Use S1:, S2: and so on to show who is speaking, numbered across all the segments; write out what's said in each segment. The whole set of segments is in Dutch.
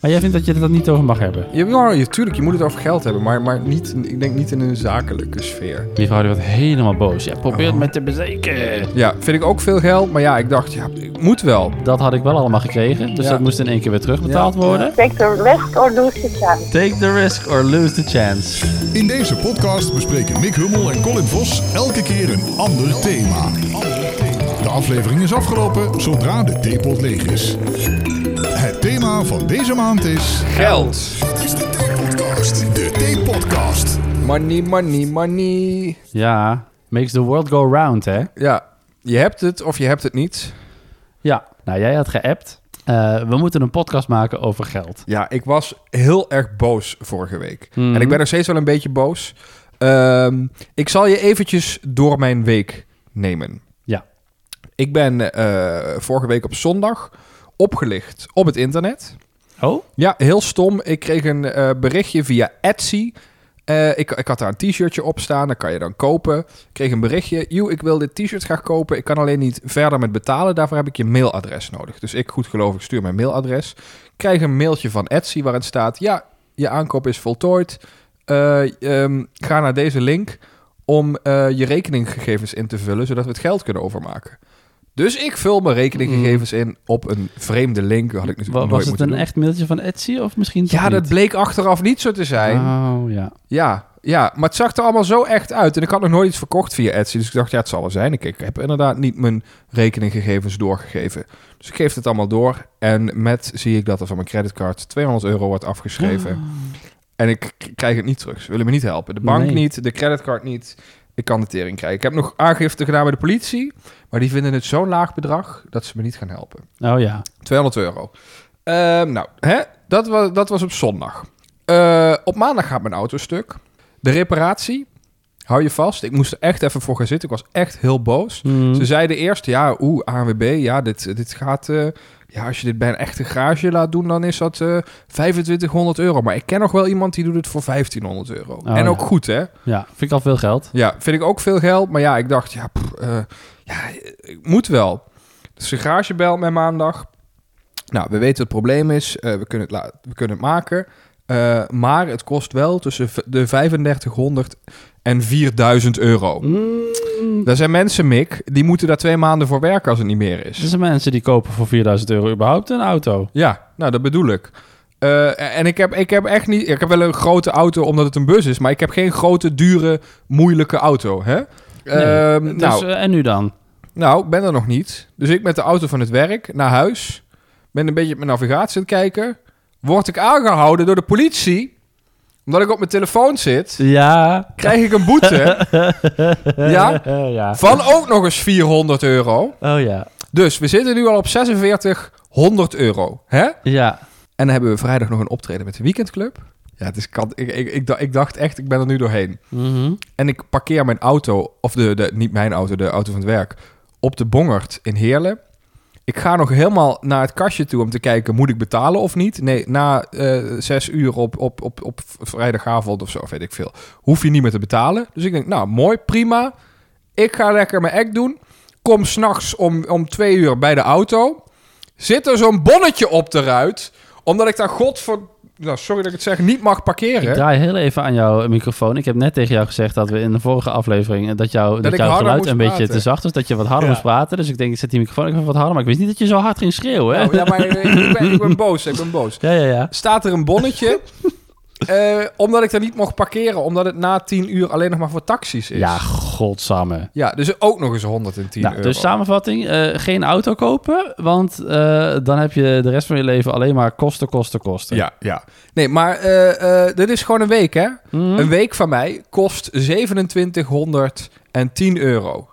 S1: Maar jij vindt dat je het dat niet over mag hebben?
S2: Je, nou, je, tuurlijk, je moet het over geld hebben, maar, maar niet, ik denk niet in een zakelijke sfeer.
S1: Die vrouw die wordt helemaal boos. Ja, probeer het met te bezeken.
S2: Ja, vind ik ook veel geld, maar ja, ik dacht, ja, ik moet wel.
S1: Dat had ik wel allemaal gekregen. Dus
S2: Ja.
S1: dat moest in één keer weer terugbetaald worden.
S3: Take the risk or lose the chance.
S1: Take the risk or lose the chance.
S4: In deze podcast bespreken Mick Hummel en Colin Vos elke keer een ander thema. De aflevering is afgelopen zodra de theepot leeg is. Het thema van deze maand is...
S2: Geld.
S4: Dit is de Theepodcast. De Theepodcast.
S2: Money, money, money.
S1: Ja, makes the world go round, hè?
S2: Ja, je hebt het of je hebt het niet.
S1: Ja. Nou, jij had geappt. Eh, we moeten een podcast maken over geld.
S2: Ja, ik was heel erg boos vorige week.
S1: Mhm.
S2: En ik ben nog steeds wel een beetje boos. Ehm, ik zal je eventjes door mijn week nemen.
S1: Ja.
S2: Ik ben eh, vorige week op zondag opgelicht op het internet.
S1: Oh?
S2: Ja, heel stom. Ik kreeg een eh, berichtje via Etsy. Eh, ik, ik had daar een t-shirtje op staan, dat kan je dan kopen. Ik kreeg een berichtje. Joe, ik wil dit t-shirt graag kopen. Ik kan alleen niet verder met betalen. Daarvoor heb ik je mailadres nodig. Dus ik, goed geloof ik, stuur mijn mailadres. Ik krijg een mailtje van Etsy waarin staat... Ja, je aankoop is voltooid. Eh, ehm, ga naar deze link om eh, je rekeninggegevens in te vullen... zodat we het geld kunnen overmaken. Dus ik vul mijn rekeninggegevens in op een vreemde link. Dat had ik
S1: Mm. Wa-
S2: natuurlijk nooit
S1: Was
S2: moeten
S1: het een
S2: doen.
S1: echt mailtje van Etsy of misschien toch
S2: Ja, dat
S1: niet?
S2: bleek achteraf niet zo te zijn.
S1: Oh, ja.
S2: Ja, ja, maar het zag er allemaal zo echt uit. En ik had nog nooit iets verkocht via Etsy. Dus ik dacht, ja, het zal er zijn. Ik, ik heb inderdaad niet mijn rekeninggegevens doorgegeven. Dus ik geef het allemaal door. En met zie ik dat er van mijn creditcard 200 euro wordt afgeschreven.
S1: Ah.
S2: En ik k- krijg het niet terug. Ze willen me niet helpen. De bank
S1: Nee.
S2: niet, de creditcard niet. Ik kan de tering krijgen. Ik heb nog aangifte gedaan bij de politie. Maar die vinden het zo'n laag bedrag dat ze me niet gaan helpen.
S1: Oh, ja.
S2: 200 euro. Ehm, nou, hè? Dat, was, dat was op zondag. Eh, op maandag gaat mijn auto stuk. De reparatie, hou je vast. Ik moest er echt even voor gaan zitten. Ik was echt heel boos.
S1: Hmm. Mhm.
S2: Ze zeiden eerst, ja, oeh, ANWB, ja, dit, dit gaat... eh, ja, als je dit bij een echte garage laat doen, dan is dat eh 2500 euro. Maar ik ken nog wel iemand die doet het voor 1500 euro.
S1: Oh,
S2: en
S1: ja.
S2: ook goed, hè?
S1: Ja, vind ik al veel geld.
S2: Ja, vind ik ook veel geld. Maar ja, ik dacht, ja, pff, eh, ja ik moet wel. Dus de garage belt mij maandag. Nou, we weten wat het probleem is. Eh, we, kunnen het la- we kunnen het maken. Eh, maar het kost wel tussen v- de 3500 en 4000 euro. Daar zijn mensen, Mick, die moeten daar twee maanden voor werken als het niet meer
S1: Er
S2: is.
S1: zijn mensen die kopen voor 4000 euro überhaupt een auto.
S2: Ja, nou, dat bedoel ik. Eh, en ik heb, ik heb echt niet. Ik heb wel een grote auto omdat het een bus is. Maar ik heb geen grote, dure, moeilijke auto. Hè? Ehm,
S1: Dus, eh, en nu dan?
S2: Nou, ik ben er nog niet. Dus ik met de auto van het werk naar huis. Ben een beetje op mijn navigatie aan het kijken. Word ik aangehouden door de politie. Omdat ik op mijn telefoon zit.
S1: Ja.
S2: Krijg ik een boete. ja.
S1: ja.
S2: Van ook nog eens 400 euro.
S1: Oh ja.
S2: Dus we zitten nu al op 4600 euro. Hè?
S1: Ja.
S2: En dan hebben we vrijdag nog een optreden met de Weekendclub. Ja, het is kant. Ik, ik, ik, dacht- ik dacht echt, ik ben er nu doorheen.
S1: Mhm.
S2: En ik parkeer mijn auto, of de, de, niet mijn auto, de auto van het werk, op de Bongert in Heerlen. Ik ga nog helemaal naar het kastje toe om te kijken, moet ik betalen of niet? Nee, na eh, zes uur op, op, op, op vrijdagavond of zo, weet ik veel, hoef je niet meer te betalen. Dus ik denk, nou mooi, prima. Ik ga lekker mijn act doen. Kom s'nachts om, om twee uur bij de auto. Zit er zo'n bonnetje op de ruit, omdat ik daar godver... Nou, sorry dat ik het zeg, niet mag
S1: Ik
S2: parkeren.
S1: draai heel even aan jouw microfoon. Ik heb net tegen jou gezegd dat we in de vorige aflevering... eh, dat, jou, dat,
S2: ik
S1: jouw
S2: harder
S1: geluid
S2: moest
S1: een beetje
S2: praten.
S1: te zacht was. Dat je wat harder moest praten. Dus ik denk, ik zet die microfoon even wat harder. Maar ik wist niet dat je zo hard ging schreeuwen. hè?
S2: Nou, ja, maar eh, ik ben, ik ben boos, ik ben boos.
S1: ja, ja, ja.
S2: staat er een bonnetje. eh, omdat ik daar niet mocht parkeren. Omdat het na 10 uur alleen nog maar voor taxis is.
S1: Ja, godsamme.
S2: Ja, dus ook nog eens 110
S1: Nou,
S2: euro.
S1: dus samenvatting, eh, geen auto kopen, want eh, dan heb je de rest van je leven alleen maar kosten, kosten, kosten.
S2: Ja, ja. Nee, maar eh, eh, dit is gewoon een week, hè?
S1: Mhm.
S2: Een week van mij kost 2710 euro.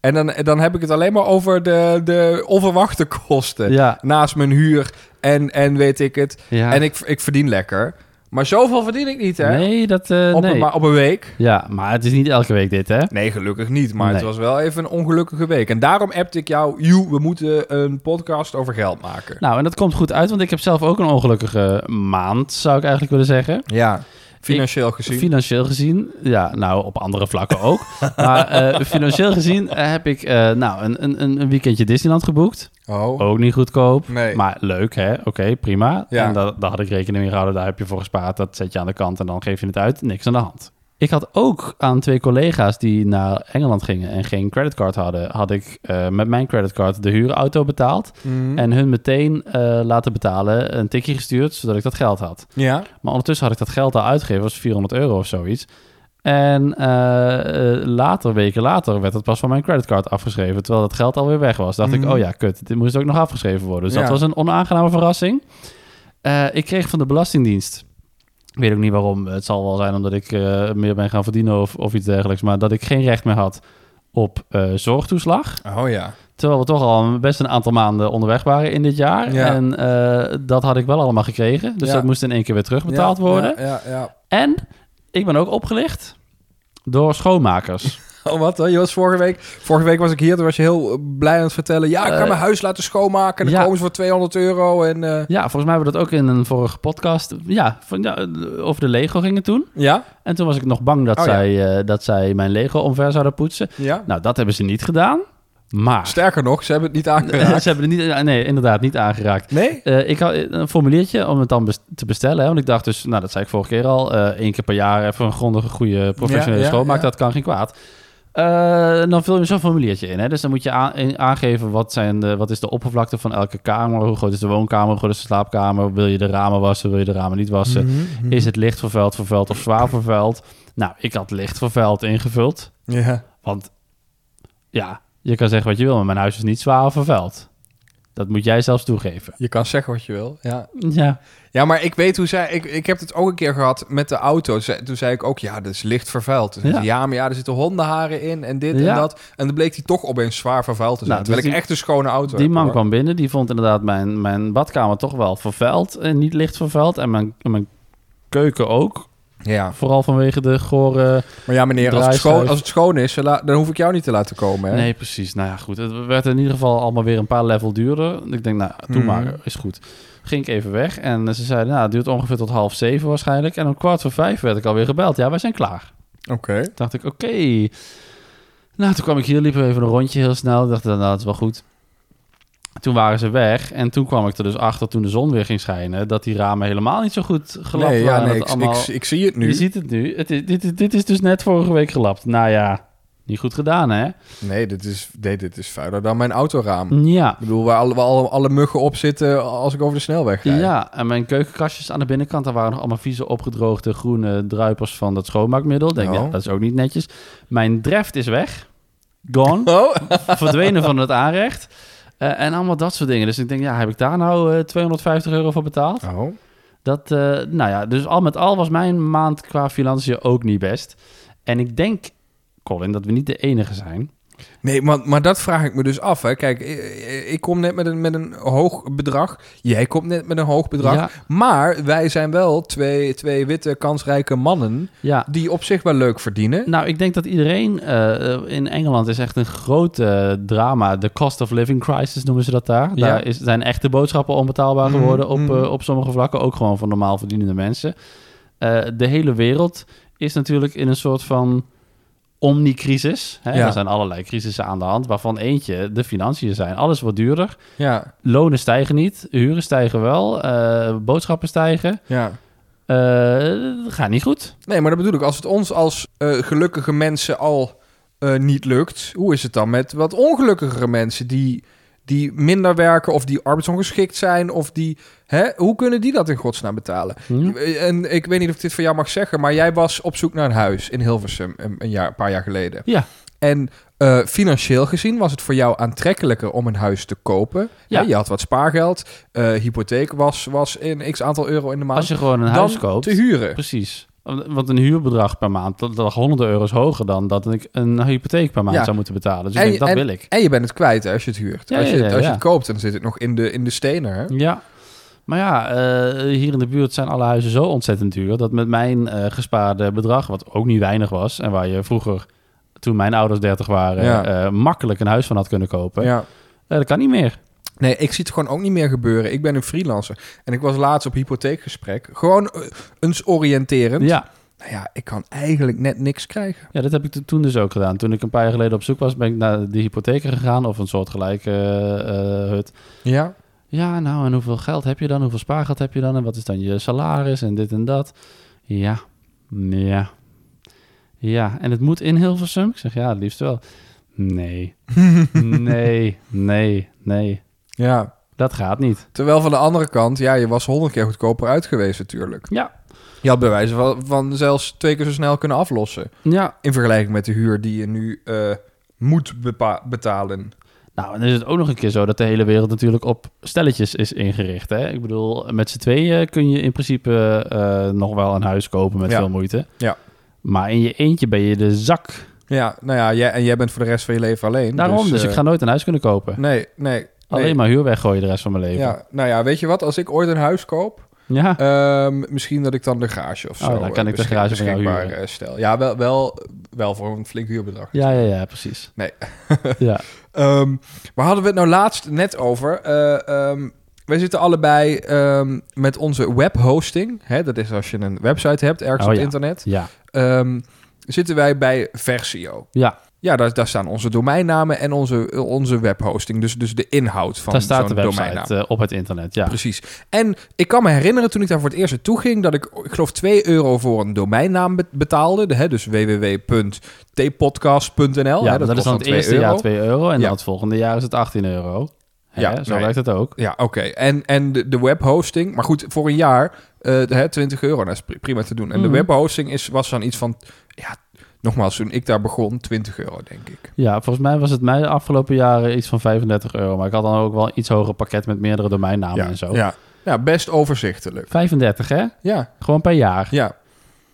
S2: En dan, dan heb ik het alleen maar over de, de onverwachte kosten.
S1: Ja,
S2: Naast mijn huur en, en weet ik het.
S1: ja.
S2: En ik, ik verdien lekker. Maar zoveel verdien ik niet, hè?
S1: Nee, dat... eh,
S2: op,
S1: nee.
S2: een, ma- op een week.
S1: Ja, maar het is niet elke week dit, hè?
S2: Nee, gelukkig niet. Maar het
S1: Nee.
S2: was wel even een ongelukkige week. En daarom appte ik jou, Joe, we moeten een podcast over geld maken.
S1: Nou, en dat komt goed uit, want ik heb zelf ook een ongelukkige maand, zou ik eigenlijk willen zeggen.
S2: Ja. Financieel gezien.
S1: Financieel gezien, ja, nou op andere vlakken ook. maar eh, financieel gezien eh, heb ik eh, nou, een, een, een weekendje Disneyland geboekt.
S2: oh.
S1: Ook niet goedkoop,
S2: Nee.
S1: maar leuk hè. Oké, prima.
S2: Ja.
S1: En daar, daar had ik rekening mee gehouden. Daar heb je voor gespaard. Dat zet je aan de kant en dan geef je het uit. Niks aan de hand. Ik had ook aan twee collega's die naar Engeland gingen en geen creditcard hadden, had ik eh, met mijn creditcard de huurauto betaald.
S2: Mhm.
S1: En hun meteen eh, laten betalen, een tikje gestuurd, zodat ik dat geld had.
S2: Ja.
S1: Maar ondertussen had ik dat geld al uitgegeven, was 400 euro of zoiets. En eh, eh, later, weken later, werd het pas van mijn creditcard afgeschreven. Terwijl dat geld alweer weg was. Dacht
S2: Mhm.
S1: ik, oh ja, kut, dit moest ook nog afgeschreven worden. Dus
S2: Ja.
S1: dat was een onaangename verrassing. Eh, ik kreeg van de Belastingdienst, ik weet ook niet waarom, het zal wel zijn omdat ik eh, meer ben gaan verdienen of, of iets dergelijks. Maar dat ik geen recht meer had op eh, zorgtoeslag.
S2: Oh ja.
S1: Terwijl we toch al best een aantal maanden onderweg waren in dit jaar.
S2: Ja.
S1: En eh, dat had ik wel allemaal gekregen. Dus
S2: Ja.
S1: dat moest in één keer weer terugbetaald
S2: Ja,
S1: worden.
S2: Ja, ja, ja.
S1: En ik ben ook opgelicht door schoonmakers.
S2: Oh, wat? hè? Je was vorige week... Vorige week was ik hier, toen was je heel eh, blij aan het vertellen... Ja, ik ga
S1: Eh,
S2: mijn huis laten schoonmaken. Dan
S1: ja.
S2: komen ze voor 200 euro en... eh,
S1: Ja, volgens mij hebben we dat ook in een vorige podcast. Ja, van, ja, over de Lego gingen toen.
S2: ja?
S1: En toen was ik nog bang dat,
S2: Oh, ja.
S1: zij, eh, dat zij mijn Lego omver zouden poetsen.
S2: Ja.
S1: Nou, dat hebben ze niet gedaan. Maar
S2: Sterker nog, ze hebben het niet aangeraakt.
S1: ze hebben er niet, nee, inderdaad niet aangeraakt.
S2: Nee?
S1: Eh, ik had een formuliertje om het dan bes- te bestellen. Hè? Want ik dacht dus, nou dat zei ik vorige keer al, eh, één keer per jaar even een grondige, goede professionele
S2: Ja, ja,
S1: schoonmaak,
S2: ja.
S1: dat kan geen kwaad. Eh, dan vul je zo'n formuliertje in. Hè? Dus dan moet je aan- in- aangeven wat, zijn de, wat is de oppervlakte van elke kamer. Hoe groot is de woonkamer, hoe groot is de slaapkamer. Wil je de ramen wassen, wil je de ramen niet wassen.
S2: Mhm.
S1: Is het licht vervuild, vervuild of zwaar vervuild? Nou, ik had licht vervuild ingevuld.
S2: Ja.
S1: Want ja, je kan zeggen wat je wil, maar mijn huis is niet zwaar of vervuild. Dat moet jij zelfs toegeven.
S2: Je kan zeggen wat je wil. Ja,
S1: Ja.
S2: ja maar ik weet hoe zij. Ik, ik heb het ook een keer gehad met de auto. Ze- Toen zei ik ook: ja, dat is licht vervuild. Toen zei
S1: Ja.
S2: ze, ja, maar ja, er zitten hondenharen in en dit
S1: Ja.
S2: en dat. En dan bleek die toch opeens zwaar vervuild te zijn.
S1: Nou, dus
S2: terwijl ik
S1: die-
S2: echt een schone auto
S1: Die
S2: heb,
S1: man
S2: hoor.
S1: kwam binnen, die vond inderdaad mijn, mijn badkamer toch wel vervuild. En niet licht vervuild. En mijn, en mijn keuken ook.
S2: Ja,
S1: Vooral vanwege de gore...
S2: maar ja, meneer, als het,
S1: Draaischijf.
S2: schoon, als het schoon is, dan la- dan hoef ik jou niet te laten komen. Hè?
S1: Nee, precies. Nou ja, goed. Het werd in ieder geval allemaal weer een paar level duurder. Ik denk, nou, doe
S2: Mhm.
S1: maar. Is goed. Ging ik even weg. En ze zeiden, nou, het duurt ongeveer tot half zeven waarschijnlijk. En om kwart voor vijf werd ik alweer gebeld. Ja, wij zijn klaar.
S2: Oké.
S1: dacht ik, oké. Nou, toen kwam ik hier, liepen we even een rondje heel snel. Ik dacht, nou, dat is wel goed. Toen waren ze weg en toen kwam ik er dus achter, toen de zon weer ging schijnen, dat die ramen helemaal niet zo goed gelapt
S2: Nee, ja,
S1: waren.
S2: nee,
S1: Dat
S2: ik,
S1: allemaal-
S2: ik, ik zie het nu.
S1: Je ziet het nu. Het is, dit, dit is dus net vorige week gelapt. Nou ja, niet goed gedaan, hè?
S2: Nee, dit is, nee, dit is vuiler dan mijn autoraam.
S1: Ja.
S2: Ik bedoel, waar alle, waar alle, alle muggen op zitten als ik over de snelweg rijd.
S1: Ja, en mijn keukenkastjes aan de binnenkant, daar waren nog allemaal vieze opgedroogde groene druipers van dat schoonmaakmiddel. Ik Denk,
S2: Oh.
S1: ja, dat is ook niet netjes. Mijn dreft is weg. Gone.
S2: Oh,
S1: verdwenen van het aanrecht. Eh, en allemaal dat soort dingen. Dus ik denk, ja, heb ik daar nou eh, 250 euro voor betaald?
S2: oh.
S1: Dat, eh, nou ja, dus al met al was mijn maand qua financiën ook niet best. En ik denk, Colin, dat we niet de enige zijn.
S2: Nee, maar, maar dat vraag ik me dus af. Hè. Kijk, ik, ik kom net met een, met een hoog bedrag. Jij komt net met een hoog bedrag.
S1: Ja.
S2: Maar wij zijn wel twee, twee witte, kansrijke mannen...
S1: Ja,
S2: die op zich wel leuk verdienen.
S1: nou, ik denk dat iedereen eh, eh, in Engeland is echt een groot eh, drama. De cost of living crisis noemen ze dat daar.
S2: Ja.
S1: Daar is, zijn echte boodschappen onbetaalbaar geworden
S2: Mhm,
S1: op,
S2: mhm.
S1: eh, op sommige vlakken. Ook gewoon voor normaal verdienende mensen. Eh, de hele wereld is natuurlijk in een soort van omnicrisis. Hè?
S2: Ja.
S1: Er zijn allerlei crisissen aan de hand, waarvan eentje de financiën zijn. Alles wordt duurder.
S2: Ja,
S1: Lonen stijgen niet, huren stijgen wel, eh, boodschappen stijgen.
S2: ja.
S1: Eh, dat gaat niet goed.
S2: Nee, maar dat bedoel ik. Als het ons als eh, gelukkige mensen al eh, niet lukt... hoe is het dan met wat ongelukkigere mensen... die, die minder werken of die arbeidsongeschikt zijn... of die... Hè, hoe kunnen die dat in godsnaam betalen?
S1: Hm?
S2: En ik weet niet of ik dit van jou mag zeggen, maar jij was op zoek naar een huis in Hilversum een, een jaar, een paar jaar geleden.
S1: Ja.
S2: En eh, financieel gezien was het voor jou aantrekkelijker om een huis te kopen.
S1: Ja.
S2: Hè, je had wat spaargeld, eh, hypotheek was, was in x aantal euro in de maand.
S1: Als je gewoon een
S2: dan
S1: huis koopt.
S2: te huren.
S1: Precies. Want een huurbedrag per maand, dat, dat lag honderden euro's hoger dan dat ik een hypotheek per maand
S2: Ja.
S1: zou moeten betalen. Dus ik
S2: En-
S1: denk, dat wil ik.
S2: En je bent het kwijt hè, als je het huurt.
S1: Ja,
S2: als je,
S1: ja,
S2: het-
S1: ja,
S2: als je
S1: ja.
S2: het koopt, dan zit het nog in de, in de stenen. Hè?
S1: Ja. Maar ja, eh, hier in de buurt zijn alle huizen zo ontzettend duur... dat met mijn eh, gespaarde bedrag, wat ook niet weinig was... en waar je vroeger, toen mijn ouders 30 waren...
S2: Ja.
S1: eh, makkelijk een huis van had kunnen kopen...
S2: Ja.
S1: eh, dat kan niet meer.
S2: Nee, ik zie het gewoon ook niet meer gebeuren. Ik ben een freelancer. En ik was laatst op hypotheekgesprek. Gewoon eh, eens oriënterend.
S1: Ja.
S2: Nou ja, ik kan eigenlijk net niks krijgen.
S1: ja, dat heb ik t- toen dus ook gedaan. Toen ik een paar jaar geleden op zoek was, ben ik naar de hypotheken gegaan of een soortgelijke eh, eh, hut.
S2: Ja.
S1: Ja, nou, en hoeveel geld heb je dan? Hoeveel spaargeld heb je dan? En wat is dan je salaris en dit en dat? Ja, ja. Ja, en het moet in Hilversum? Ik zeg, ja, het liefst wel. Nee, nee, nee, nee.
S2: Ja.
S1: Dat gaat niet.
S2: Terwijl van de andere kant, ja, je was honderd keer goedkoper uit geweest natuurlijk.
S1: Ja,
S2: Je had bij wijze van, van zelfs twee keer zo snel kunnen aflossen.
S1: ja.
S2: In vergelijking met de huur die je nu eh, moet bepa- betalen.
S1: Nou, en dan is het ook nog een keer zo dat de hele wereld natuurlijk op stelletjes is ingericht. Hè? Ik bedoel, met z'n tweeën kun je in principe eh, nog wel een huis kopen met
S2: Ja.
S1: veel moeite.
S2: Ja.
S1: Maar in je eentje ben je de zak.
S2: Ja, nou ja, jij, en jij bent voor de rest van je leven alleen.
S1: Daarom, dus,
S2: eh,
S1: ik ga nooit een huis kunnen kopen.
S2: Nee, nee. nee.
S1: Alleen maar huur weggooien de rest van mijn leven.
S2: Ja, nou ja, weet je wat? Als ik ooit een huis koop,
S1: Ja.
S2: Ehm, misschien dat ik dan de garage of zo.
S1: Oh, dan kan
S2: eh,
S1: ik de
S2: beschik-
S1: garage van jou
S2: beschikbaar,
S1: huren.
S2: eh, stel. Ja, wel, wel, wel voor een flink huurbedrag.
S1: Ja, ja, ja, precies.
S2: Nee.
S1: ja.
S2: Ehm, waar hadden we het nou laatst net over? Eh, ehm, wij zitten allebei ehm, met onze webhosting. Hè, dat is als je een website hebt ergens
S1: Oh,
S2: op
S1: ja.
S2: internet.
S1: Ja.
S2: Ehm, zitten wij bij Versio.
S1: Ja,
S2: Ja, daar, daar staan onze domeinnamen en onze, onze webhosting. Dus, dus de inhoud van
S1: daar staat de
S2: zo'n domeinnaam.
S1: website eh, op het internet. Ja.
S2: Precies. En ik kan me herinneren toen ik daar voor het eerst naartoe ging... dat ik, ik geloof, 2 euro voor een domeinnaam be- betaalde. De, hè, dus www.tpodcast.nl.
S1: ja,
S2: Oh, hè,
S1: dat, is
S2: kost
S1: dan het eerste jaar 2 euro en
S2: Ja.
S1: dan het volgende jaar is het 18 euro. Hè,
S2: Ja,
S1: zo
S2: nee.
S1: werkt het ook.
S2: Ja, oké. En, en de, de webhosting. Maar goed, voor een jaar eh, de- hè, 20 euro. Dat is pri- prima te doen. En
S1: Mhm.
S2: de webhosting is, was dan iets van... Ja, nogmaals, toen ik daar begon, 20 euro, denk ik.
S1: Ja, volgens mij was het mij de afgelopen jaren iets van 35 euro. Maar ik had dan ook wel een iets hoger pakket met meerdere domeinnamen
S2: ja,
S1: en Nou, zo.
S2: Ja. ja, best overzichtelijk.
S1: 35, hè?
S2: Ja,
S1: Gewoon per jaar.
S2: ja.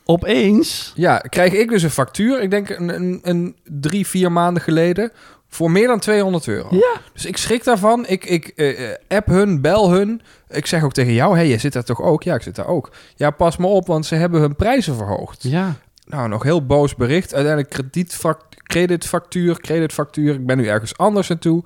S1: Opeens.
S2: Ja, krijg ik dus een factuur, ik denk een, een, een drie, vier maanden geleden, voor meer dan 200 euro.
S1: Ja.
S2: Dus ik schrik daarvan. Ik, ik eh, eh, app hun, bel hun. Ik zeg ook tegen jou, hé, hey, jij zit daar toch ook? Ja, ik zit daar ook. Ja, pas me op, want ze hebben hun prijzen verhoogd.
S1: Ja.
S2: Nou, nog heel boos bericht. Uiteindelijk kredietfact, kredietfactuur, kredietfactuur. Ik ben nu ergens anders naartoe.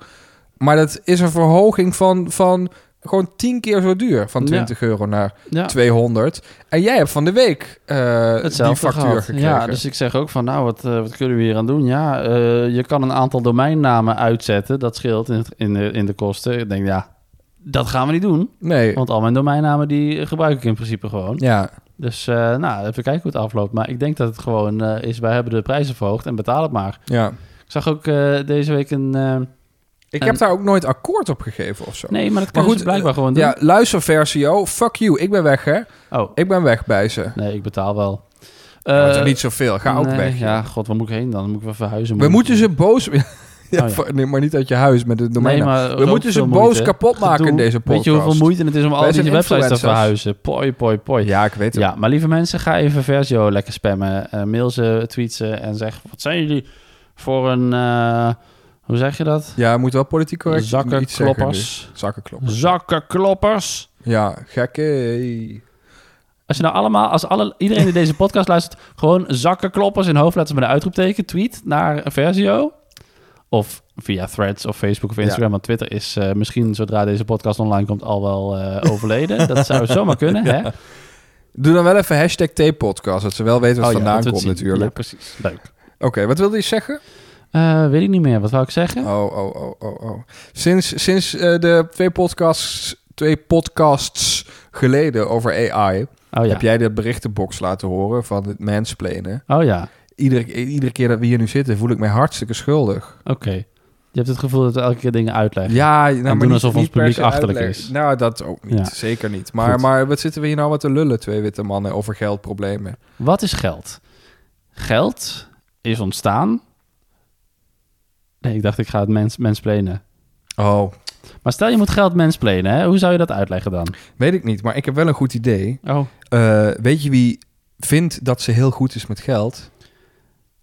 S2: Maar dat is een verhoging van, van gewoon tien keer zo duur. Van
S1: Ja.
S2: 20 euro naar
S1: ja.
S2: 200. En jij hebt van de week eh, die
S1: Hetzelfde
S2: factuur
S1: gehad.
S2: gekregen.
S1: Ja, dus ik zeg ook van, nou, wat, eh, wat kunnen we hier aan doen? Ja, eh, je kan een aantal domeinnamen uitzetten. Dat scheelt in, het- in, de, in de kosten. Ik denk, ja, dat gaan we niet doen.
S2: Nee.
S1: Want al mijn domeinnamen, die gebruik ik in principe gewoon.
S2: Ja,
S1: Dus, eh, nou, even kijken hoe het afloopt. Maar ik denk dat het gewoon eh, is, wij hebben de prijzen verhoogd en betaal het maar.
S2: ja.
S1: Ik zag ook eh, deze week een... eh,
S2: Ik
S1: En-
S2: heb daar ook nooit akkoord op gegeven of zo.
S1: nee, maar dat kan
S2: Maar
S1: je
S2: goed, eh,
S1: blijkbaar gewoon doen.
S2: Ja, luister Versio, fuck you. Ik ben weg, hè.
S1: Oh,
S2: Ik ben weg bij ze.
S1: nee, ik betaal wel.
S2: Ja, maar
S1: Eh,
S2: toch niet zoveel. Ga ook
S1: nee,
S2: weg.
S1: Ja, god, waar moet ik heen dan? Dan Moet ik wel verhuizen?
S2: We
S1: Moet-
S2: moeten ze boos... ja,
S1: ja.
S2: voor- nee, maar niet uit je huis met de domein.
S1: Nee, maar
S2: we
S1: ook
S2: moeten ze
S1: veel
S2: boos
S1: moeite.
S2: kapot maken in
S1: Gedoe.
S2: deze podcast.
S1: Weet je hoeveel moeite het is om al
S2: Wij
S1: die
S2: zijn
S1: websites te
S2: influencers.
S1: verhuizen? Poi, poi, poi. Ja.
S2: Ja, ik weet het.
S1: maar lieve mensen, ga even Versio lekker spammen. Eh, mail ze, tweet ze en zeg... Wat zijn jullie voor een... eh, hoe zeg je dat?
S2: Ja, moet wel politiek correct iets zeggen
S1: Zakkenkloppers.
S2: nu. Zakkenkloppers.
S1: Zakkenkloppers.
S2: Ja, gekke.
S1: Als je nou allemaal, als alle, iedereen die deze podcast luistert, gewoon zakkenkloppers in hoofdletters met een uitroepteken, tweet naar Versio. Of via threads of Facebook of Instagram. Want Twitter is eh, misschien zodra deze podcast online komt al wel eh, overleden. Dat zou zomaar kunnen. Hè?
S2: Doe dan wel even hashtag T-podcast, dat ze wel weten wat
S1: Oh ja,
S2: vandaan
S1: dat we het
S2: komt
S1: zien. Ja,
S2: natuurlijk.
S1: precies. Leuk.
S2: Oké, wat wilde je zeggen?
S1: Eh, weet ik niet meer. Wat wou ik zeggen?
S2: Oh, oh, oh, oh, oh. Sinds, sinds eh, de twee podcasts, twee podcasts geleden over AI...
S1: Oh ja.
S2: heb jij de berichtenbox laten horen van het mansplainen.
S1: Oh ja.
S2: Iedere, iedere keer dat we hier nu zitten voel ik mij hartstikke schuldig.
S1: Oké. Je hebt het gevoel dat we elke keer dingen uitleggen.
S2: Ja, nou, maar
S1: doen
S2: niet-
S1: alsof
S2: niet
S1: ons
S2: per
S1: publiek
S2: se
S1: achterlijk
S2: uitleggen.
S1: is.
S2: Nou, dat ook niet.
S1: Ja.
S2: Zeker niet. Maar,
S1: Goed.
S2: maar wat zitten we hier nou wat te lullen, twee witte mannen, over geldproblemen?
S1: Wat is geld? Geld is ontstaan. Nee, ik dacht ik ga het mens, mensplenen.
S2: Oh,
S1: Maar stel je moet geld mensplenen, hè? hoe zou je dat uitleggen dan?
S2: weet ik niet. Maar ik heb wel een goed idee.
S1: Oh,
S2: Eh, weet je wie vindt dat ze heel goed is met geld?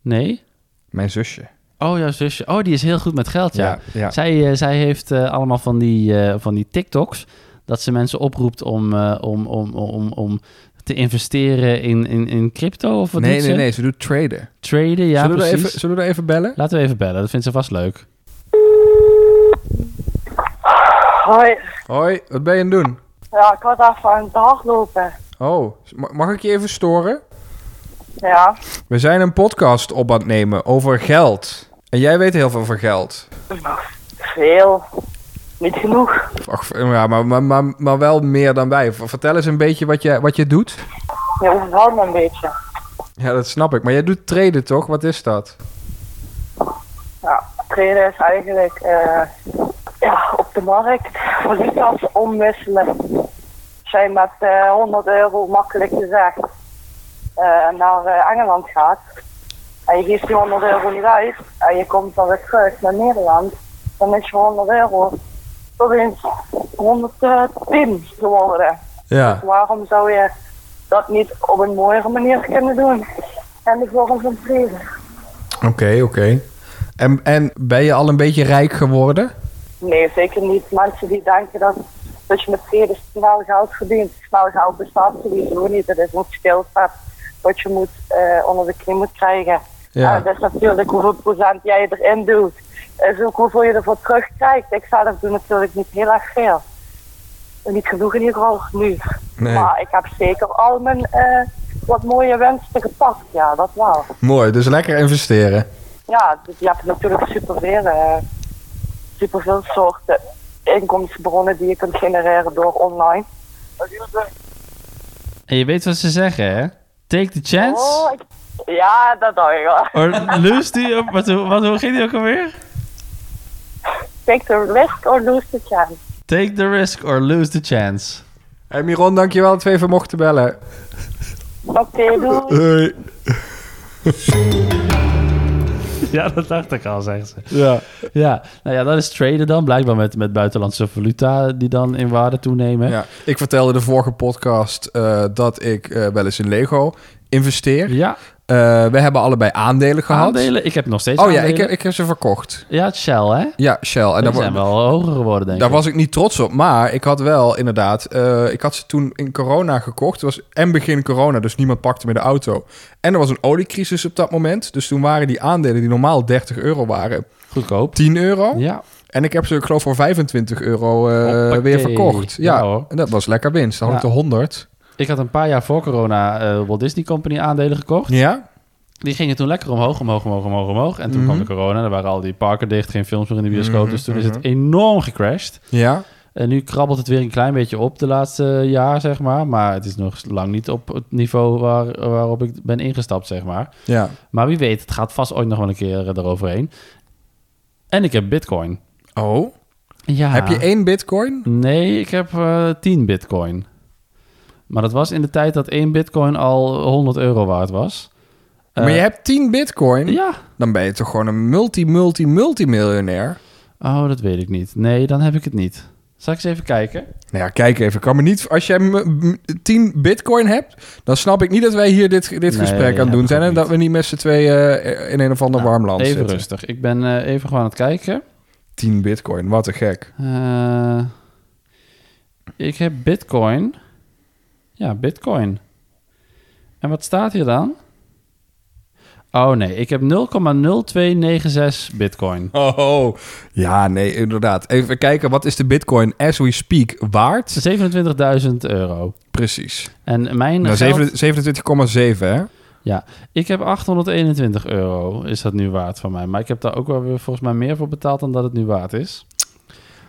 S1: nee?
S2: Mijn zusje.
S1: Oh, jouw zusje. Oh, die is heel goed met geld, ja.
S2: ja.
S1: Zij, eh, zij heeft eh, allemaal van die, eh, van die TikToks dat ze mensen oproept om, eh, om, om, om, om te investeren in, in, in crypto of wat
S2: nee,
S1: doet
S2: nee,
S1: ze?
S2: nee. Ze doet traden.
S1: Traden, ja,
S2: zullen, we er
S1: precies.
S2: even, zullen we er even bellen?
S1: Laten we even bellen, dat vindt ze vast leuk.
S3: Hoi.
S2: Hoi, wat ben je aan het doen?
S3: Ja, ik was even aan het hardlopen.
S2: Oh, ma- mag ik je even storen?
S3: Ja.
S2: We zijn een podcast op aan het nemen over geld. En jij weet heel veel van geld.
S3: Veel. Niet genoeg.
S2: Ach, ja, maar, maar, maar, maar wel meer dan wij. V- Vertel eens een beetje wat je, wat je doet.
S3: Je overvalt me een beetje.
S2: Ja, dat snap ik. Maar jij doet traden toch? Wat is dat?
S3: Ja, trainen is eigenlijk eh, ja, op de markt valutas omwisselen. Zijn met eh, 100 euro makkelijk gezegd eh, naar eh, Engeland gaat. En je geeft die 100 euro niet uit en je komt dan weer terug naar Nederland. Dan is je 100 euro tot eens 110 geworden.
S2: Ja.
S3: Waarom zou je dat niet op een mooiere manier kunnen doen? En de vorm van vrede.
S2: Oké, oké. En, en ben je al een beetje rijk geworden?
S3: Nee, zeker niet. Mensen die denken dat, dat je met vrede snel geld verdient. Snel geld bestaat sowieso niet. Het is een skillset wat je moet, eh, onder de knie moet krijgen.
S2: Ja.
S3: En dat is natuurlijk hoeveel procent jij erin doet. Is ook hoeveel je ervoor terugkrijgt. Ik zelf doe natuurlijk niet heel erg veel. Niet genoeg in ieder geval nu.
S2: Nee.
S3: Maar ik heb zeker al mijn eh, wat mooie winsten gepakt. Ja, dat wel.
S2: Mooi, dus lekker investeren.
S3: Ja, dus je hebt natuurlijk superveel, eh, superveel soorten inkomstenbronnen die je kunt genereren door online.
S1: En je weet wat ze zeggen, hè? Take the chance.
S3: Oh, ik- ja, dat dacht ik wel.
S1: Or lose the... Wat, wat, hoe ging die ook alweer?
S3: Take the risk or lose the chance.
S1: Take the risk or lose the chance.
S2: Hey Miron, dankjewel dat we even mochten bellen.
S3: Oké, doei.
S2: Hoi.
S1: Ja, dat dacht ik al, zegt ze.
S2: Ja.
S1: Ja, nou ja, dat is traden dan. Blijkbaar met, met buitenlandse valuta die dan in waarde toenemen.
S2: ja. Ik vertelde de vorige podcast eh, dat ik eh, wel eens in Lego investeer.
S1: Ja,
S2: Eh, we hebben allebei aandelen gehad.
S1: aandelen. Ik heb nog steeds
S2: Oh ja, ik
S1: aandelen.
S2: heb, ik heb ze verkocht.
S1: Ja, het Shell, hè?
S2: Ja, Shell. En
S1: Die
S2: daar, wa-
S1: zijn wel hoger geworden, denk
S2: daar
S1: ik.
S2: was ik niet trots op. Maar ik had wel inderdaad... eh, ik had ze toen in corona gekocht. Het was en begin corona, dus niemand pakte meer de auto. En er was een oliecrisis op dat moment. Dus toen waren die aandelen die normaal 30 euro waren...
S1: Goedkoop.
S2: 10 euro.
S1: Ja,
S2: En ik heb ze, ik geloof, voor 25 euro eh,
S1: Hoppakee.
S2: weer verkocht. Ja,
S1: Ja, hoor.
S2: en dat was lekker winst. Dan had
S1: Ja.
S2: ik de 100.
S1: ik had een paar jaar voor corona eh, Walt Disney Company aandelen gekocht.
S2: Ja?
S1: Die gingen toen lekker omhoog, omhoog, omhoog, omhoog, omhoog. En toen kwam de corona, er waren al die parken dicht, geen films meer in de bioscoop. Dus toen is het enorm gecrashed.
S2: Ja.
S1: En nu krabbelt het weer een klein beetje op de laatste jaar, zeg maar. Maar het is nog lang niet op het niveau waar, waarop ik ben ingestapt, zeg maar.
S2: Ja.
S1: Maar wie weet, het gaat vast ooit nog wel een keer eh, eroverheen. En ik heb bitcoin.
S2: Oh.
S1: Ja.
S2: Heb je één bitcoin?
S1: Nee, ik heb eh 10 bitcoin. Maar dat was in de tijd dat één bitcoin al 100 euro waard was. Eh,
S2: maar je hebt 10 bitcoin?
S1: Ja.
S2: Dan ben je toch gewoon een multi-multi-multimiljonair?
S1: Oh, dat weet ik niet. Nee, dan heb ik het niet. Zal ik eens even kijken?
S2: Nou ja, kijk even. Ik Kan me niet, als jij me- m- 10 bitcoin hebt, dan snap ik niet dat wij hier dit, dit gesprek aan
S1: heb
S2: het doen
S1: ik
S2: zijn.
S1: ook
S2: En dat
S1: niet.
S2: we niet met z'n tweeën eh, in een of ander
S1: Nou,
S2: warm land
S1: even
S2: zitten.
S1: rustig. Ik ben eh, even gewoon aan het kijken.
S2: 10 bitcoin, wat een gek.
S1: Eh, ik heb bitcoin. Ja, bitcoin. En wat staat hier dan? Oh nee, ik heb 0,0296 bitcoin.
S2: Oh, oh. ja, nee, inderdaad. Even kijken, wat is de bitcoin as we speak waard?
S1: 27.000 euro.
S2: Precies.
S1: En mijn
S2: Nou,
S1: geld-
S2: 27,7 hè?
S1: Ja, ik heb 821 euro is dat nu waard van mij. Maar ik heb daar ook wel weer volgens mij meer voor betaald dan dat het nu waard is.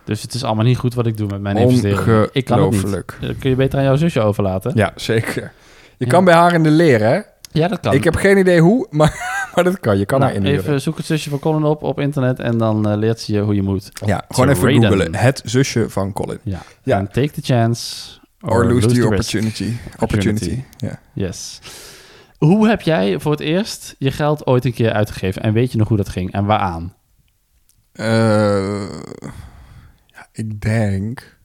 S1: Dus het is allemaal niet goed wat ik doe met mijn investeringen. Ik kan het niet.
S2: Ongelooflijk.
S1: Dat kun je beter aan jouw zusje overlaten. Ja,
S2: Ja, zeker. Je
S1: Ja.
S2: kan bij haar in de leer, hè?
S1: dat kan.
S2: Ik heb geen idee hoe, maar, maar dat kan. Je kan
S1: Nou,
S2: haar inhuren.
S1: even zoek het zusje van Colin op op internet en dan eh, leert ze je hoe je moet.
S2: ja, gewoon even
S1: Raiden.
S2: googelen. Het zusje van Colin.
S1: Ja.
S2: Ja.
S1: En take the chance
S2: Or, lose, the,
S1: risk.
S2: opportunity. Opportunity. Ja.
S1: Yes. Hoe heb jij voor het eerst je geld ooit een keer uitgegeven? En weet je nog hoe dat ging en waaraan?
S2: Eh, ja, ik denk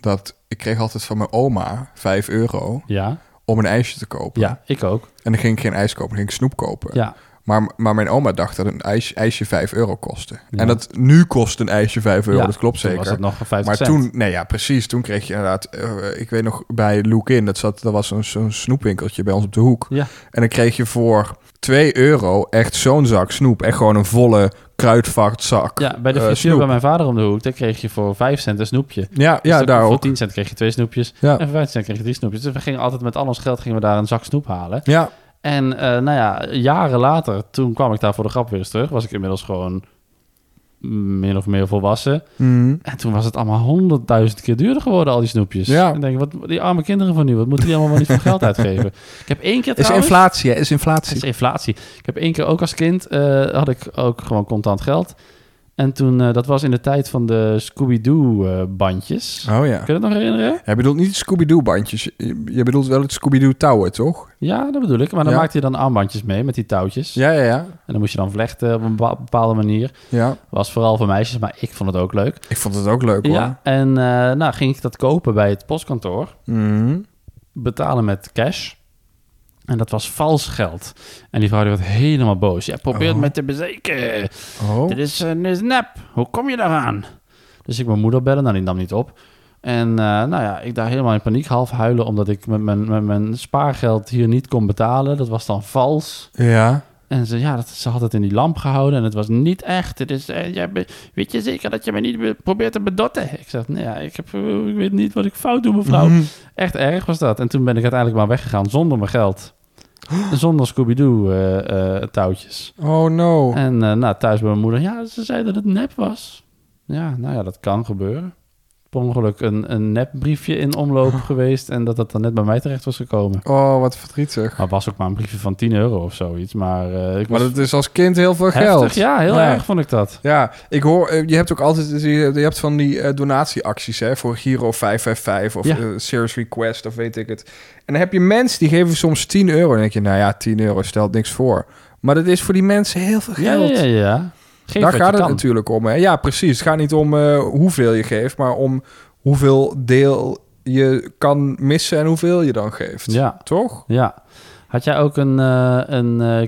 S2: dat ik kreeg altijd van mijn oma 5 euro
S1: Ja,
S2: om een ijsje te kopen.
S1: ja ik ook.
S2: En dan ging ik geen ijs kopen, dan ging ik snoep kopen.
S1: Ja,
S2: Maar, maar mijn oma dacht dat een ijs, ijsje 5 euro kostte.
S1: Ja.
S2: En dat nu kost een ijsje 5 euro,
S1: Ja,
S2: dat klopt
S1: toen
S2: zeker.
S1: was het nog 50
S2: maar
S1: cent.
S2: toen, nee ja, precies. Toen kreeg je inderdaad, eh, ik weet nog bij Look In, dat, zat, dat was zo'n zo'n snoepwinkeltje bij ons op de hoek.
S1: Ja.
S2: En dan kreeg je voor 2 euro echt zo'n zak snoep. Echt gewoon een volle kruidvatzak.
S1: Ja, bij de
S2: eh,
S1: frituur
S2: snoep.
S1: bij mijn vader om de hoek, daar kreeg je voor 5 cent een snoepje.
S2: Ja,
S1: Dus
S2: ja
S1: dan-
S2: daar
S1: Voor
S2: ook.
S1: 10 cent kreeg je twee snoepjes.
S2: Ja.
S1: En voor 15 cent kreeg je drie snoepjes. Dus we gingen altijd met al ons geld gingen we daar een zak snoep halen.
S2: Ja,
S1: En eh, nou ja, jaren later, toen kwam ik daar voor de grap weer eens terug. Was ik inmiddels gewoon min of meer volwassen.
S2: Mhm.
S1: En toen was het allemaal honderdduizend keer duurder geworden, al die snoepjes.
S2: Ja.
S1: En ik denk, wat, die arme kinderen van nu, wat moeten die allemaal wel niet voor geld uitgeven? Ik heb één keer
S2: is
S1: trouwens...
S2: inflatie, hè, is
S1: Het is
S2: inflatie.
S1: inflatie. Ik heb één keer ook als kind, eh, had ik ook gewoon contant geld. En toen, eh, dat was in de tijd van de Scooby-Doo-bandjes.
S2: Oh ja.
S1: Kun je dat nog herinneren?
S2: Jij bedoelt niet Scooby-Doo-bandjes. Je, je bedoelt wel het Scooby-Doo-touwen, toch?
S1: Ja, dat bedoel ik. Maar dan
S2: Ja.
S1: maakte je dan armbandjes mee met die touwtjes.
S2: Ja, ja, ja.
S1: En dan moest je dan vlechten op een bepa- bepaalde manier.
S2: ja.
S1: Was vooral voor meisjes, maar ik vond het ook leuk.
S2: Ik vond het ook leuk, hoor.
S1: Ja, en eh, nou ging ik dat kopen bij het postkantoor.
S2: Mhm.
S1: Betalen met cash. En dat was vals geld. En die vrouw die werd helemaal boos. Jij probeert
S2: Oh.
S1: me te bezekeren.
S2: Oh.
S1: Dit is een is nep. Hoe kom je daaraan? Dus ik mijn moeder bellen. Nou, die nam niet op. En eh, nou ja, ik daar helemaal in paniek. Half huilen omdat ik met mijn, met mijn spaargeld hier niet kon betalen. Dat was dan vals.
S2: Ja.
S1: En ze, ja, dat, ze had het in die lamp gehouden en het was niet echt. Het is, eh, jij be- weet je zeker dat je me niet be- probeert te bedotten? Ik zeg, nee, ja, ik, heb, eh, ik weet niet wat ik fout doe, mevrouw.
S2: Mhm.
S1: Echt erg was dat. En toen ben ik uiteindelijk maar weggegaan zonder mijn geld. En Zonder eh, Scooby-Doo-touwtjes.
S2: Oh, no.
S1: En eh, nou, thuis bij mijn moeder, ja, ze zei dat het nep was. Ja, nou ja, dat kan gebeuren. Per ongeluk een, een nepbriefje in omloop geweest en dat dat dan net bij mij terecht was gekomen.
S2: Oh, wat verdrietig.
S1: Maar het was ook maar een briefje van 10 euro of zoiets. Maar eh, ik
S2: Maar
S1: was
S2: dat is als kind heel veel
S1: Heftig,
S2: geld.
S1: ja, heel
S2: Ja.
S1: erg vond ik dat.
S2: Ja, ik hoor, eh, je hebt ook altijd, je hebt van die eh, donatieacties hè, voor Giro 555 of
S1: Ja.
S2: eh, Serious Request of weet ik het. En dan heb je mensen die geven soms 10 euro. En dan denk je, nou ja, 10 euro stelt niks voor. Maar dat is voor die mensen heel veel
S1: Ja,
S2: geld.
S1: ja, ja. Geef
S2: Daar
S1: wat
S2: gaat
S1: je
S2: het
S1: kan.
S2: natuurlijk om. Hè? Ja, precies. Het gaat niet om eh, hoeveel je geeft, maar om hoeveel deel je kan missen en hoeveel je dan geeft.
S1: Ja,
S2: Toch?
S1: ja. Had jij ook een, eh, een eh,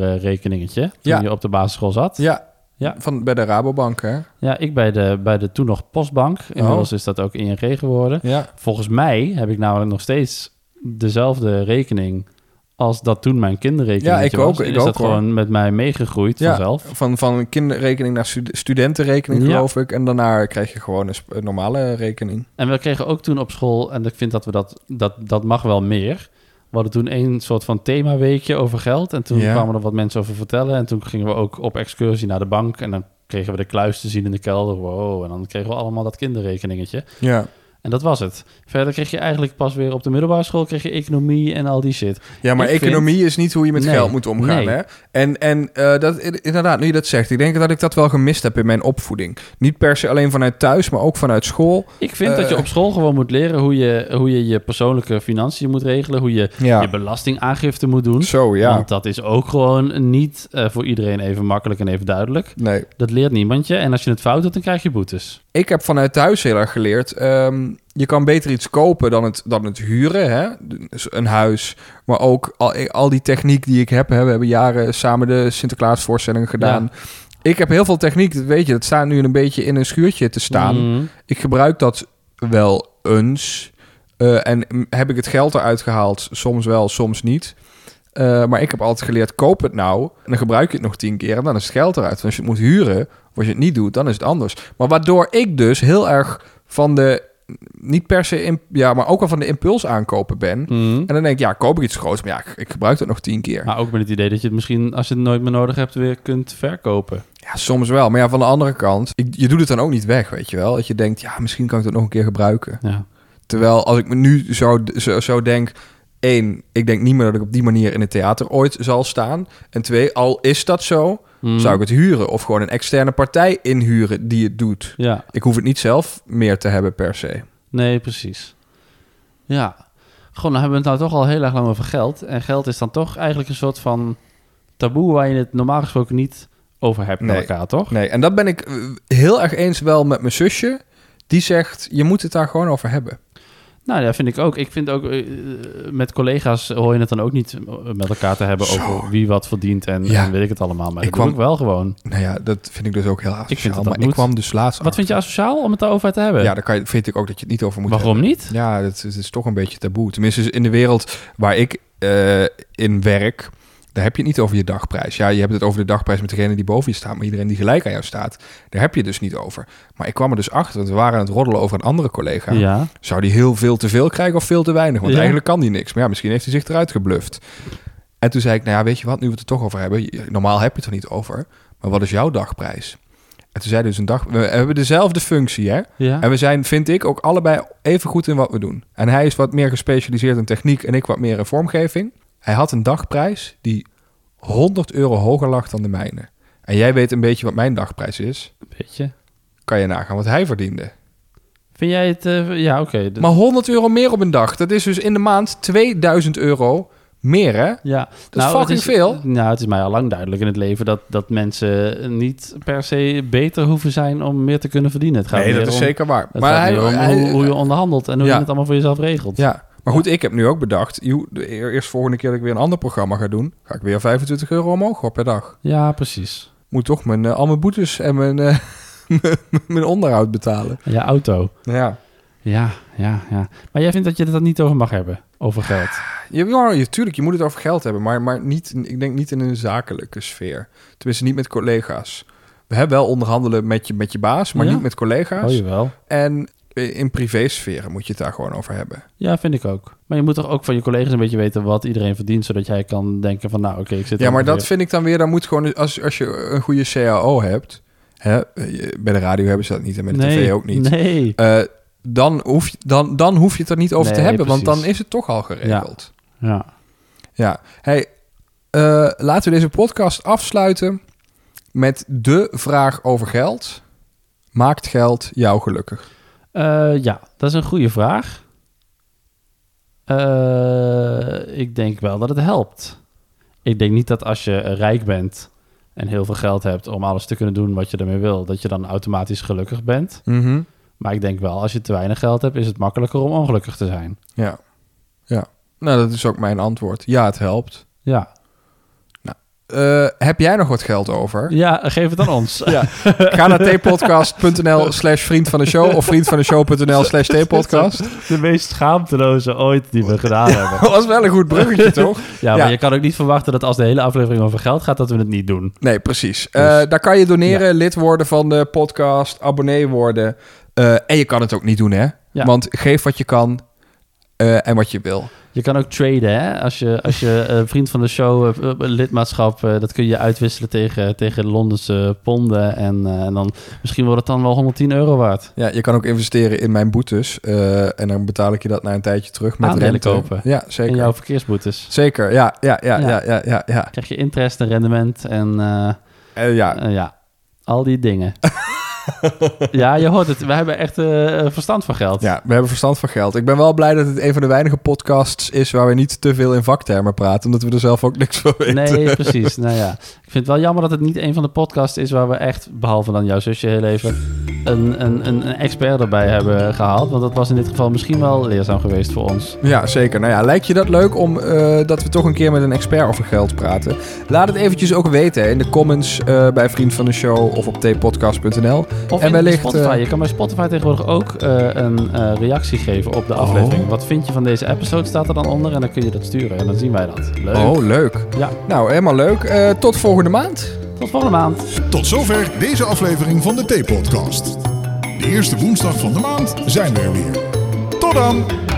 S1: kinderrekeningetje toen
S2: Ja.
S1: je op de basisschool zat? Ja,
S2: Ja.
S1: Ja.
S2: Van, bij de Rabobank, hè?
S1: ik bij de, bij de toen nog Postbank.
S2: Oh.
S1: Inmiddels is dat ook ING geworden.
S2: Ja.
S1: Volgens mij heb ik namelijk nog steeds dezelfde rekening als dat toen mijn kinderrekening
S2: Ja, ik
S1: was.
S2: ook, ik
S1: is
S2: ook,
S1: dat
S2: hoor.
S1: gewoon met mij meegegroeid
S2: Ja.
S1: vanzelf?
S2: Van, van kinderrekening naar stud- studentenrekening,
S1: Ja.
S2: geloof ik. En daarna krijg je gewoon een sp- een normale rekening.
S1: En we kregen ook toen op school, en ik vind dat we dat, dat, dat mag wel meer. We hadden toen een soort van themaweekje over geld. En toen
S2: Ja.
S1: kwamen er wat mensen over vertellen. En toen gingen we ook op excursie naar de bank. En dan kregen we de kluis te zien in de kelder. Wow. En dan kregen we allemaal dat kinderrekeningetje.
S2: Ja.
S1: En dat was het. Verder kreeg je eigenlijk pas weer op de middelbare school kreeg je economie en al die shit.
S2: Ja, maar
S1: Ik vind-
S2: economie is niet hoe je met
S1: Nee,
S2: geld moet omgaan,
S1: nee.
S2: hè? En, en eh, dat, inderdaad, nu je dat zegt, ik denk dat ik dat wel gemist heb in mijn opvoeding. Niet per se alleen vanuit thuis, maar ook vanuit school.
S1: Ik vind dat je
S2: Eh.
S1: op school gewoon moet leren hoe je hoe je, je persoonlijke financiën moet regelen. Hoe je
S2: Ja.
S1: je belastingaangifte moet doen.
S2: Zo, ja.
S1: Want dat is ook gewoon niet eh, voor iedereen even makkelijk en even duidelijk.
S2: Nee.
S1: Dat leert niemand je. En als je het fout doet, dan krijg je boetes.
S2: Ik heb vanuit thuis heel erg geleerd. ehm, je kan beter iets kopen dan het, dan het huren. Hè? Dus een huis. Maar ook al, eh, al die techniek die ik heb. Hè? We hebben jaren samen de Sinterklaasvoorstellingen gedaan. Ik heb heel veel techniek, dat weet je. Dat staat nu een beetje in een schuurtje te staan.
S1: Mm.
S2: Ik gebruik dat wel eens. Eh, en mm, heb ik het geld eruit gehaald? Soms wel, soms niet. Eh, maar ik heb altijd geleerd, koop het nou. En dan gebruik je het nog tien keer en dan is het geld eruit. Want als je het moet huren, of als je het niet doet, dan is het anders. Maar waardoor ik dus heel erg van de... Niet per se, imp- ja, maar ook wel van de impuls aankopen ben.
S1: Mm.
S2: En dan denk ik, ja, koop ik iets groots. Maar ja, ik- ik gebruik dat nog tien keer.
S1: Maar ook met het idee dat je het misschien, als je het nooit meer nodig hebt, weer kunt verkopen.
S2: Ja, soms wel. Maar ja, van de andere kant, ik- je doet het dan ook niet weg, weet je wel. Dat je denkt, ja, misschien kan ik dat nog een keer gebruiken.
S1: Ja.
S2: Terwijl als ik me nu zo, zo, zo denk... één, ik denk niet meer dat ik op die manier in het theater ooit zal staan. En twee, al is dat zo,
S1: Mm.
S2: zou ik het huren. Of gewoon een externe partij inhuren die het doet.
S1: Mhm. Ja,
S2: Ik hoef het niet zelf meer te hebben per se.
S1: nee, precies. Ja. Gewoon, nou hebben we het nou toch al heel erg lang over geld. En geld is dan toch eigenlijk een soort van taboe waar je het normaal gesproken niet over hebt met
S2: Nee.
S1: elkaar, toch?
S2: Nee, en dat ben ik eh, heel erg eens wel met mijn zusje. Die zegt, je moet het daar gewoon over hebben.
S1: Nou, ja, vind ik ook. Ik vind ook, eh, met collega's hoor je het dan ook niet eh, met elkaar te hebben
S2: Zo.
S1: over wie wat verdient en,
S2: Ja.
S1: en weet ik het allemaal. Maar
S2: Ik
S1: ik kwam...
S2: kwam-
S1: doe ik wel gewoon.
S2: Nou ja, dat vind ik dus ook heel
S1: vind dat
S2: asociaal.
S1: dat
S2: maar ik
S1: moet.
S2: kwam dus laatst
S1: Wat vind je asociaal om het daarover te hebben?
S2: Ja, daar kan je, vind ik ook dat je het niet over moet hebben.
S1: Waarom niet?
S2: Ja, dat is, dat is toch een beetje taboe. Tenminste, in de wereld waar ik eh, in werk, Daar heb je het niet over je dagprijs. Ja, je hebt het over de dagprijs met degene die boven je staat, maar iedereen die gelijk aan jou staat, daar heb je het dus niet over. Maar ik kwam er dus achter, want we waren aan het roddelen over een andere collega.
S1: Ja.
S2: Zou die heel veel te veel krijgen of veel te weinig? Want
S1: Ja.
S2: eigenlijk kan die niks. Maar ja, misschien heeft hij zich eruit gebluft. En toen zei ik, nou ja, weet je wat, nu we het er toch over hebben. je- Normaal heb je het er niet over. Maar wat is jouw dagprijs? En toen zei dus een dag... We hebben dezelfde functie, hè?
S1: Ja.
S2: En we zijn, vind ik, ook allebei even goed in wat we doen. En hij is wat meer gespecialiseerd in techniek en ik wat meer in vormgeving. Hij had een dagprijs die 100 euro hoger lag dan de mijne. En jij weet een beetje wat mijn dagprijs is.
S1: Een beetje.
S2: Kan je nagaan wat hij verdiende.
S1: Vind jij het... eh, ja, oké. dat-
S2: Maar 100 euro meer op een dag. Dat is dus in de maand 2000 euro meer, hè?
S1: Ja, dat
S2: is fucking veel.
S1: Nou, het is mij al lang duidelijk in het leven dat, dat mensen niet per se beter hoeven zijn om meer te kunnen verdienen. Het gaat meer om,
S2: waar.
S1: Het maar gaat meer om hoe, hoe je onderhandelt en hoe
S2: Ja.
S1: je het allemaal voor jezelf regelt.
S2: Ja, maar goed, ik heb nu ook bedacht... joe, de eerst volgende keer dat ik weer een ander programma ga doen... ga ik weer 25 euro omhoog op per dag.
S1: Ja, precies.
S2: Moet toch mijn, eh, al mijn boetes en mijn, eh, mijn onderhoud betalen.
S1: Ja, auto.
S2: Nou Ja.
S1: Ja, ja, ja. Maar jij vindt dat je het er niet over mag hebben, over geld.
S2: Je, ja, je, tuurlijk, je moet het over geld hebben, maar, maar niet, in- ik denk niet in een zakelijke sfeer. Tenminste, niet met collega's. We hebben wel onderhandelen met je, met je baas, maar
S1: Ja?
S2: niet met collega's.
S1: Oh, jawel.
S2: En eh, in privésferen moet je het daar gewoon over hebben.
S1: Ja, vind ik ook. Maar je moet toch ook van je collega's een beetje weten wat iedereen verdient, zodat jij kan denken van, nou, oké, ik zit...
S2: Ja, maar
S1: ongeveer-
S2: dat vind ik dan weer, dan moet gewoon, als, als je een goede CAO hebt, hè, bij de radio hebben ze dat niet en bij de
S1: nee,
S2: tv ook niet,
S1: Nee.
S2: Eh, dan, hoef je, dan, dan hoef je het er niet over te
S1: Nee,
S2: hebben, want
S1: precies.
S2: dan is het toch al geregeld.
S1: Ja.
S2: Ja, hey, eh, laten we deze podcast afsluiten met de vraag over geld. Maakt geld jou gelukkig?
S1: Eh, ja, dat is een goede vraag. Eh, ik denk wel dat het helpt. Ik denk niet dat als je eh, rijk bent en heel veel geld hebt om alles te kunnen doen wat je ermee wil, dat je dan automatisch gelukkig bent.
S2: Mhm.
S1: Maar ik denk wel, als je te weinig geld hebt, is het makkelijker om ongelukkig te zijn.
S2: Ja. ja, nou dat is ook mijn antwoord. Ja, het helpt.
S1: Ja,
S2: Eh, heb jij nog wat geld over?
S1: ja geef het aan ons.
S2: Ja. Ga naar tpodcast.nl slash vriend van de show of vriend van de show.nl slash tpodcast.
S1: De meest schaamteloze ooit die we gedaan hebben.
S2: Dat was wel een goed bruggetje, toch?
S1: Ja, maar
S2: Ja.
S1: je kan ook niet verwachten dat als de hele aflevering over geld gaat, dat we het niet doen.
S2: Nee, precies. Eh,
S1: Dus-
S2: daar kan je doneren, lid worden van de podcast, abonnee worden. Eh, en je kan het ook niet doen, hè?
S1: Ja.
S2: Want geef wat je kan eh, en wat je wil.
S1: Je kan ook traden, hè? Als je, als je eh, vriend van de show, eh, eh, lidmaatschap, eh, dat kun je uitwisselen tegen, tegen Londense ponden. En, eh, en dan misschien wordt het dan wel 110 euro waard.
S2: Ja, je kan ook investeren in mijn boetes. eh, en dan betaal ik je dat na een tijdje terug met
S1: Aandelen
S2: rente.
S1: kopen.
S2: Ja,
S1: In
S2: zeker.
S1: jouw verkeersboetes.
S2: Zeker, ja, ja, ja,
S1: Ja.
S2: ja, ja, ja. ja.
S1: Krijg je interest en rendement en eh,
S2: Eh, ja.
S1: eh, ja, al die dingen. ja, je hoort het. We hebben echt eh, verstand van geld.
S2: Ja, we hebben verstand van geld. Ik ben wel blij dat het een van de weinige podcasts is waar we niet te veel in vaktermen praten, omdat we er zelf ook niks van weten.
S1: Nee, precies. Nou ja, ik vind het wel jammer dat het niet een van de podcasts is waar we echt, behalve dan jouw zusje heel even, een, een, een, een expert erbij hebben gehaald. Want dat was in dit geval misschien wel leerzaam geweest voor ons.
S2: Ja, zeker. Nou ja, lijkt je dat leuk om eh, dat we toch een keer met een expert over geld praten? Laat het eventjes ook weten hè, in de comments eh, bij vriend van de show of op tpodcast.nl.
S1: Of
S2: En
S1: in
S2: wellicht,
S1: Spotify.
S2: eh,
S1: Je kan bij Spotify tegenwoordig ook eh, een eh, reactie geven op de aflevering. Wat vind je van deze episode? Staat er dan onder en dan kun je dat sturen. En dan zien wij dat. Leuk.
S2: Oh, leuk.
S1: Ja,
S2: Nou, helemaal leuk. Eh, tot volgende maand.
S1: tot volgende maand.
S4: Tot zover deze aflevering van de Theepodcast. De eerste woensdag van de maand zijn we er weer. Tot dan!